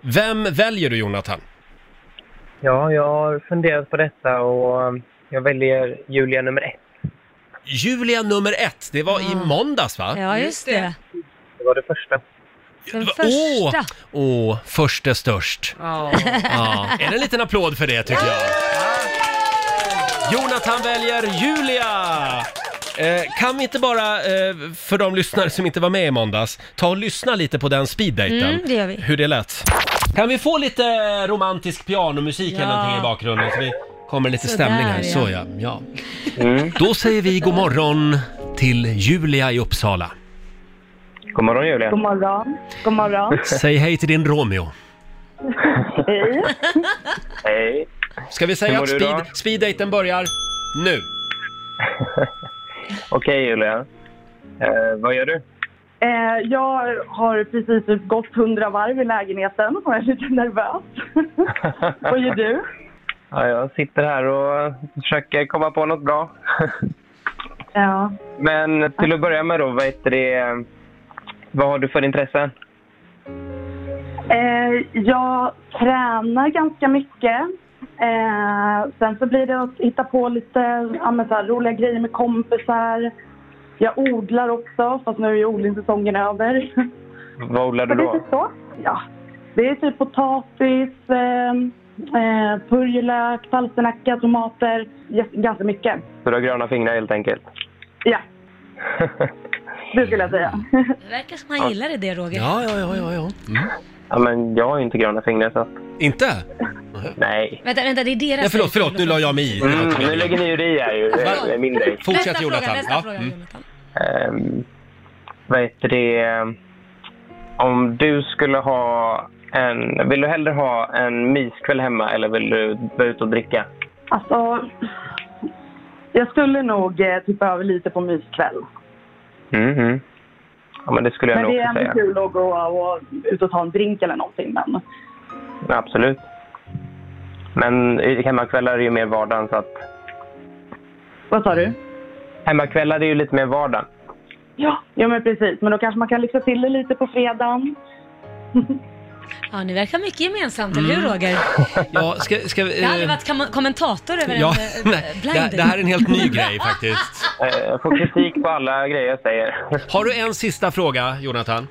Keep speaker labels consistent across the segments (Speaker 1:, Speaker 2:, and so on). Speaker 1: Vem väljer du Jonathan?
Speaker 2: Ja, jag har funderat på detta och um, jag väljer Julia nummer ett.
Speaker 1: Julia nummer ett, det var i måndags va?
Speaker 3: Ja, just det.
Speaker 2: Det var det första.
Speaker 3: Den
Speaker 1: Va-
Speaker 3: första.
Speaker 1: Åh, åh, först är störst. Ja. Är det en liten applåd för det tycker jag? Jonathan väljer Julia! Eh, kan vi inte bara, eh, för de lyssnare som inte var med i måndags, ta och lyssna lite på den speeddaten?
Speaker 3: Mm, det gör vi.
Speaker 1: Hur det lät. Kan vi få lite romantisk pianomusik eller
Speaker 3: Ja.
Speaker 1: någonting i bakgrunden så vi kommer lite
Speaker 3: Sådär,
Speaker 1: stämning här?
Speaker 3: ja.
Speaker 1: Så ja. ja. Då säger vi god morgon till Julia i Uppsala.
Speaker 2: God morgon Julia.
Speaker 4: God morgon. God morgon.
Speaker 1: Säg hej till din Romeo.
Speaker 4: Hej.
Speaker 2: Hej.
Speaker 1: Ska vi
Speaker 2: Hur
Speaker 1: säga
Speaker 2: mår
Speaker 1: att
Speaker 2: du
Speaker 1: speed,
Speaker 2: då?
Speaker 1: speeddaten börjar nu?
Speaker 2: Okej Julia. Eh, vad gör du?
Speaker 4: Eh, jag har precis gått hundra varv i lägenheten och är lite nervös. Vad gör du?
Speaker 2: Ja, jag sitter här och försöker komma på något bra.
Speaker 4: Ja.
Speaker 2: Men till att börja med då, vad heter det? Vad har du för intressen?
Speaker 4: Eh, jag tränar ganska mycket. Eh, sen så blir det att hitta på lite ja, men så här, roliga grejer med kompisar. Jag odlar också, fast nu är ju odlingssäsongen över.
Speaker 2: Vad odlar
Speaker 4: Så
Speaker 2: du
Speaker 4: det är
Speaker 2: då?
Speaker 4: typ så. Ja. Det är typ potatis, eh, eh, purjolök, palsternacka, tomater. Yes, Ganska mycket.
Speaker 2: Du har gröna fingrar helt enkelt.
Speaker 4: Ja, det skulle jag säga.
Speaker 3: Det verkar som han gillade det Roger.
Speaker 1: Ja, ja, ja, ja. ja. Mm.
Speaker 2: ja, men jag har ju inte gröna fingrar så att,
Speaker 1: Inte?
Speaker 2: nej.
Speaker 3: Vänta, vänta, det är deras...
Speaker 1: Nej, förlåt, förlåt, nu la jag mig i.
Speaker 2: Mm, nu lägger ni ju det i här ju. Det är- det är min grej.
Speaker 3: Nästa
Speaker 1: Fortsätt
Speaker 3: fråga,
Speaker 1: Jonathan.
Speaker 3: nästa
Speaker 1: Ja.
Speaker 3: fråga,
Speaker 1: Mm.
Speaker 3: Jonathan.
Speaker 2: Ehm, vad heter det? Om du skulle ha en... Vill du hellre ha en myskväll hemma eller vill du vara ute och dricka?
Speaker 4: Alltså, jag skulle nog eh, tippa över lite på myskväll.
Speaker 2: Mm, mm. Ja, men det skulle jag
Speaker 4: Men
Speaker 2: nog
Speaker 4: det är
Speaker 2: också
Speaker 4: ändå
Speaker 2: säga.
Speaker 4: kul att gå och ut och ta en drink eller någonting. Men
Speaker 2: Absolut. Men i- hemmakvällar är ju mer vardagen så att...
Speaker 4: vad sa
Speaker 2: Mm.
Speaker 4: du?
Speaker 2: Hemmakvällar är ju lite mer vardagen.
Speaker 4: Ja, ja men precis. Men då kanske man kan lyxa till det lite på fredagen.
Speaker 3: Ja, ni verkar mycket gemensamt, eller
Speaker 1: Mm.
Speaker 3: hur Roger?
Speaker 1: Ja, ska, ska, vi,
Speaker 3: Jag har aldrig
Speaker 1: eh,
Speaker 3: varit kam- kommentator över
Speaker 1: ja,
Speaker 3: en eh,
Speaker 1: nej,
Speaker 3: blind
Speaker 1: det,
Speaker 3: date.
Speaker 1: det här är en helt ny grej faktiskt.
Speaker 2: Eh, Jag får kritik på alla grejer jag säger.
Speaker 1: Har du en sista fråga, Jonathan?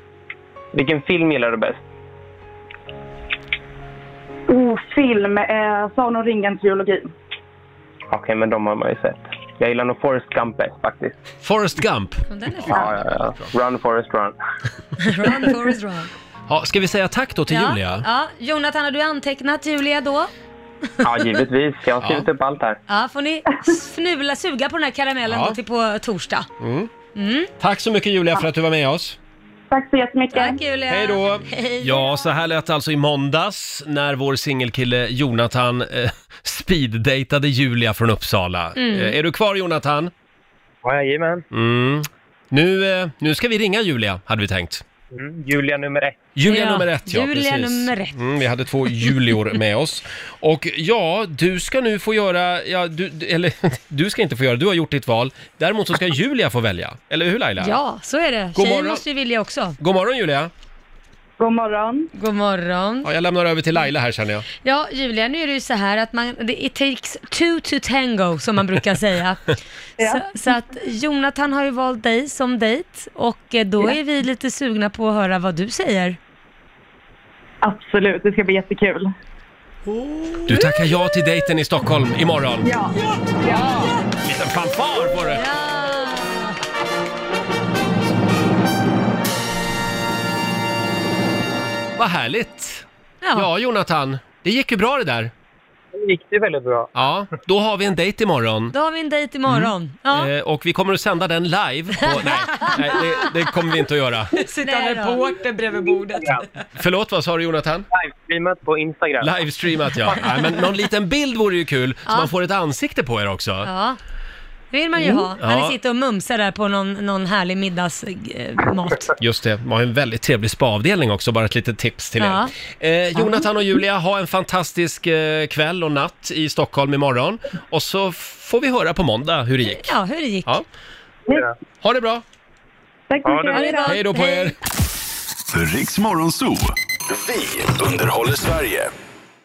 Speaker 2: Vilken film gillar du bäst?
Speaker 4: Oh, film. Eh, Sagan om ringen-trilogin.
Speaker 2: Okej, men de har man ju sett. Jag gillar nog Forrest Gump bäst faktiskt.
Speaker 1: Forrest Gump.
Speaker 3: Om Den är
Speaker 2: Ja, ja, ja. Run Forrest Run.
Speaker 3: fan. Run, Forrest, run.
Speaker 1: Ja, ska vi säga tack då till
Speaker 3: Ja,
Speaker 1: Julia?
Speaker 3: ja. Jonathan, har du antecknat Julia då?
Speaker 2: Ja, givetvis. Jag har skrivit
Speaker 1: Ja.
Speaker 2: upp allt här.
Speaker 3: Ja, får ni snula, suga på den här karamellen
Speaker 1: Ja.
Speaker 3: då till på torsdag.
Speaker 1: Tack så mycket Julia för att du var med oss.
Speaker 4: Tack så jättemycket.
Speaker 3: Tack Julia!
Speaker 1: Hej då!
Speaker 3: Hej.
Speaker 1: Ja, så här lät det alltså i måndags när vår singelkille Jonathan eh, speeddejtade Julia från Uppsala.
Speaker 3: Mm.
Speaker 1: Eh, är du kvar Jonathan?
Speaker 2: Jajamän.
Speaker 1: Mm. Nu, eh, nu ska vi ringa Julia, hade vi tänkt.
Speaker 2: Mm, Julia nummer ett.
Speaker 1: Julia
Speaker 3: Ja,
Speaker 1: nummer ett, ja
Speaker 3: Julia
Speaker 1: precis.
Speaker 3: nummer ett.
Speaker 1: Mm, vi hade två Julior med oss. Och ja, du ska nu få göra, ja, du, du- eller du ska inte få göra, du har gjort ditt val. Däremot så ska Julia få välja, eller hur Laila?
Speaker 3: Ja, så är det.
Speaker 1: God
Speaker 3: Tjejer
Speaker 1: morgon.
Speaker 3: måste ju vilja också.
Speaker 1: God morgon Julia!
Speaker 4: God morgon.
Speaker 3: God morgon.
Speaker 1: Ja, jag lämnar över till Laila här känner jag.
Speaker 3: Ja, Julia, nu är det ju så här att man, det- it takes two to tango, som man brukar säga.
Speaker 4: Ja.
Speaker 3: så, så att Jonathan har ju valt dig som dejt och eh, då är vi lite sugna på att höra vad du säger.
Speaker 4: Absolut, det ska bli jättekul.
Speaker 1: Du tackar ja till dejten i Stockholm imorgon.
Speaker 4: Ja.
Speaker 1: Liten fanfar på det! Vad härligt!
Speaker 3: Ja.
Speaker 1: Ja, Jonathan, det gick ju bra det där.
Speaker 2: Det gick ju väldigt bra.
Speaker 1: Ja, då har vi en dejt imorgon.
Speaker 3: Då har vi en dejt imorgon. Ja.
Speaker 1: Eh, och vi kommer att sända den live. På, nej, nej det, det kommer vi inte att göra.
Speaker 5: Sitta
Speaker 3: Nej
Speaker 5: en
Speaker 3: då.
Speaker 5: reporter bredvid bordet.
Speaker 1: Förlåt, vad sa du Jonathan?
Speaker 2: Livestreamat på Instagram.
Speaker 1: Livestreamat ja. Nej, men någon liten bild vore ju kul, så man får ett ansikte på er också.
Speaker 3: Ja, det vill man ju ha. När
Speaker 1: Mm. Ja.
Speaker 3: ni sitter och mumsar där på någon, någon härlig eh, middagsmat.
Speaker 1: Just det, man har ju en väldigt trevlig spaavdelning också, bara ett litet tips till
Speaker 3: Ja.
Speaker 1: er. Eh, Jonathan och Julia, ha en fantastisk eh, kväll och natt i Stockholm imorgon. Och så får vi höra på måndag hur det gick.
Speaker 3: Ja, hur det gick.
Speaker 1: Ja. Ha det bra!
Speaker 4: Tack så
Speaker 2: Ja, det var-
Speaker 4: mycket.
Speaker 3: Ha det bra.
Speaker 1: Hej då på er!
Speaker 6: Riks Morgonzoo.
Speaker 5: Vi underhåller Sverige.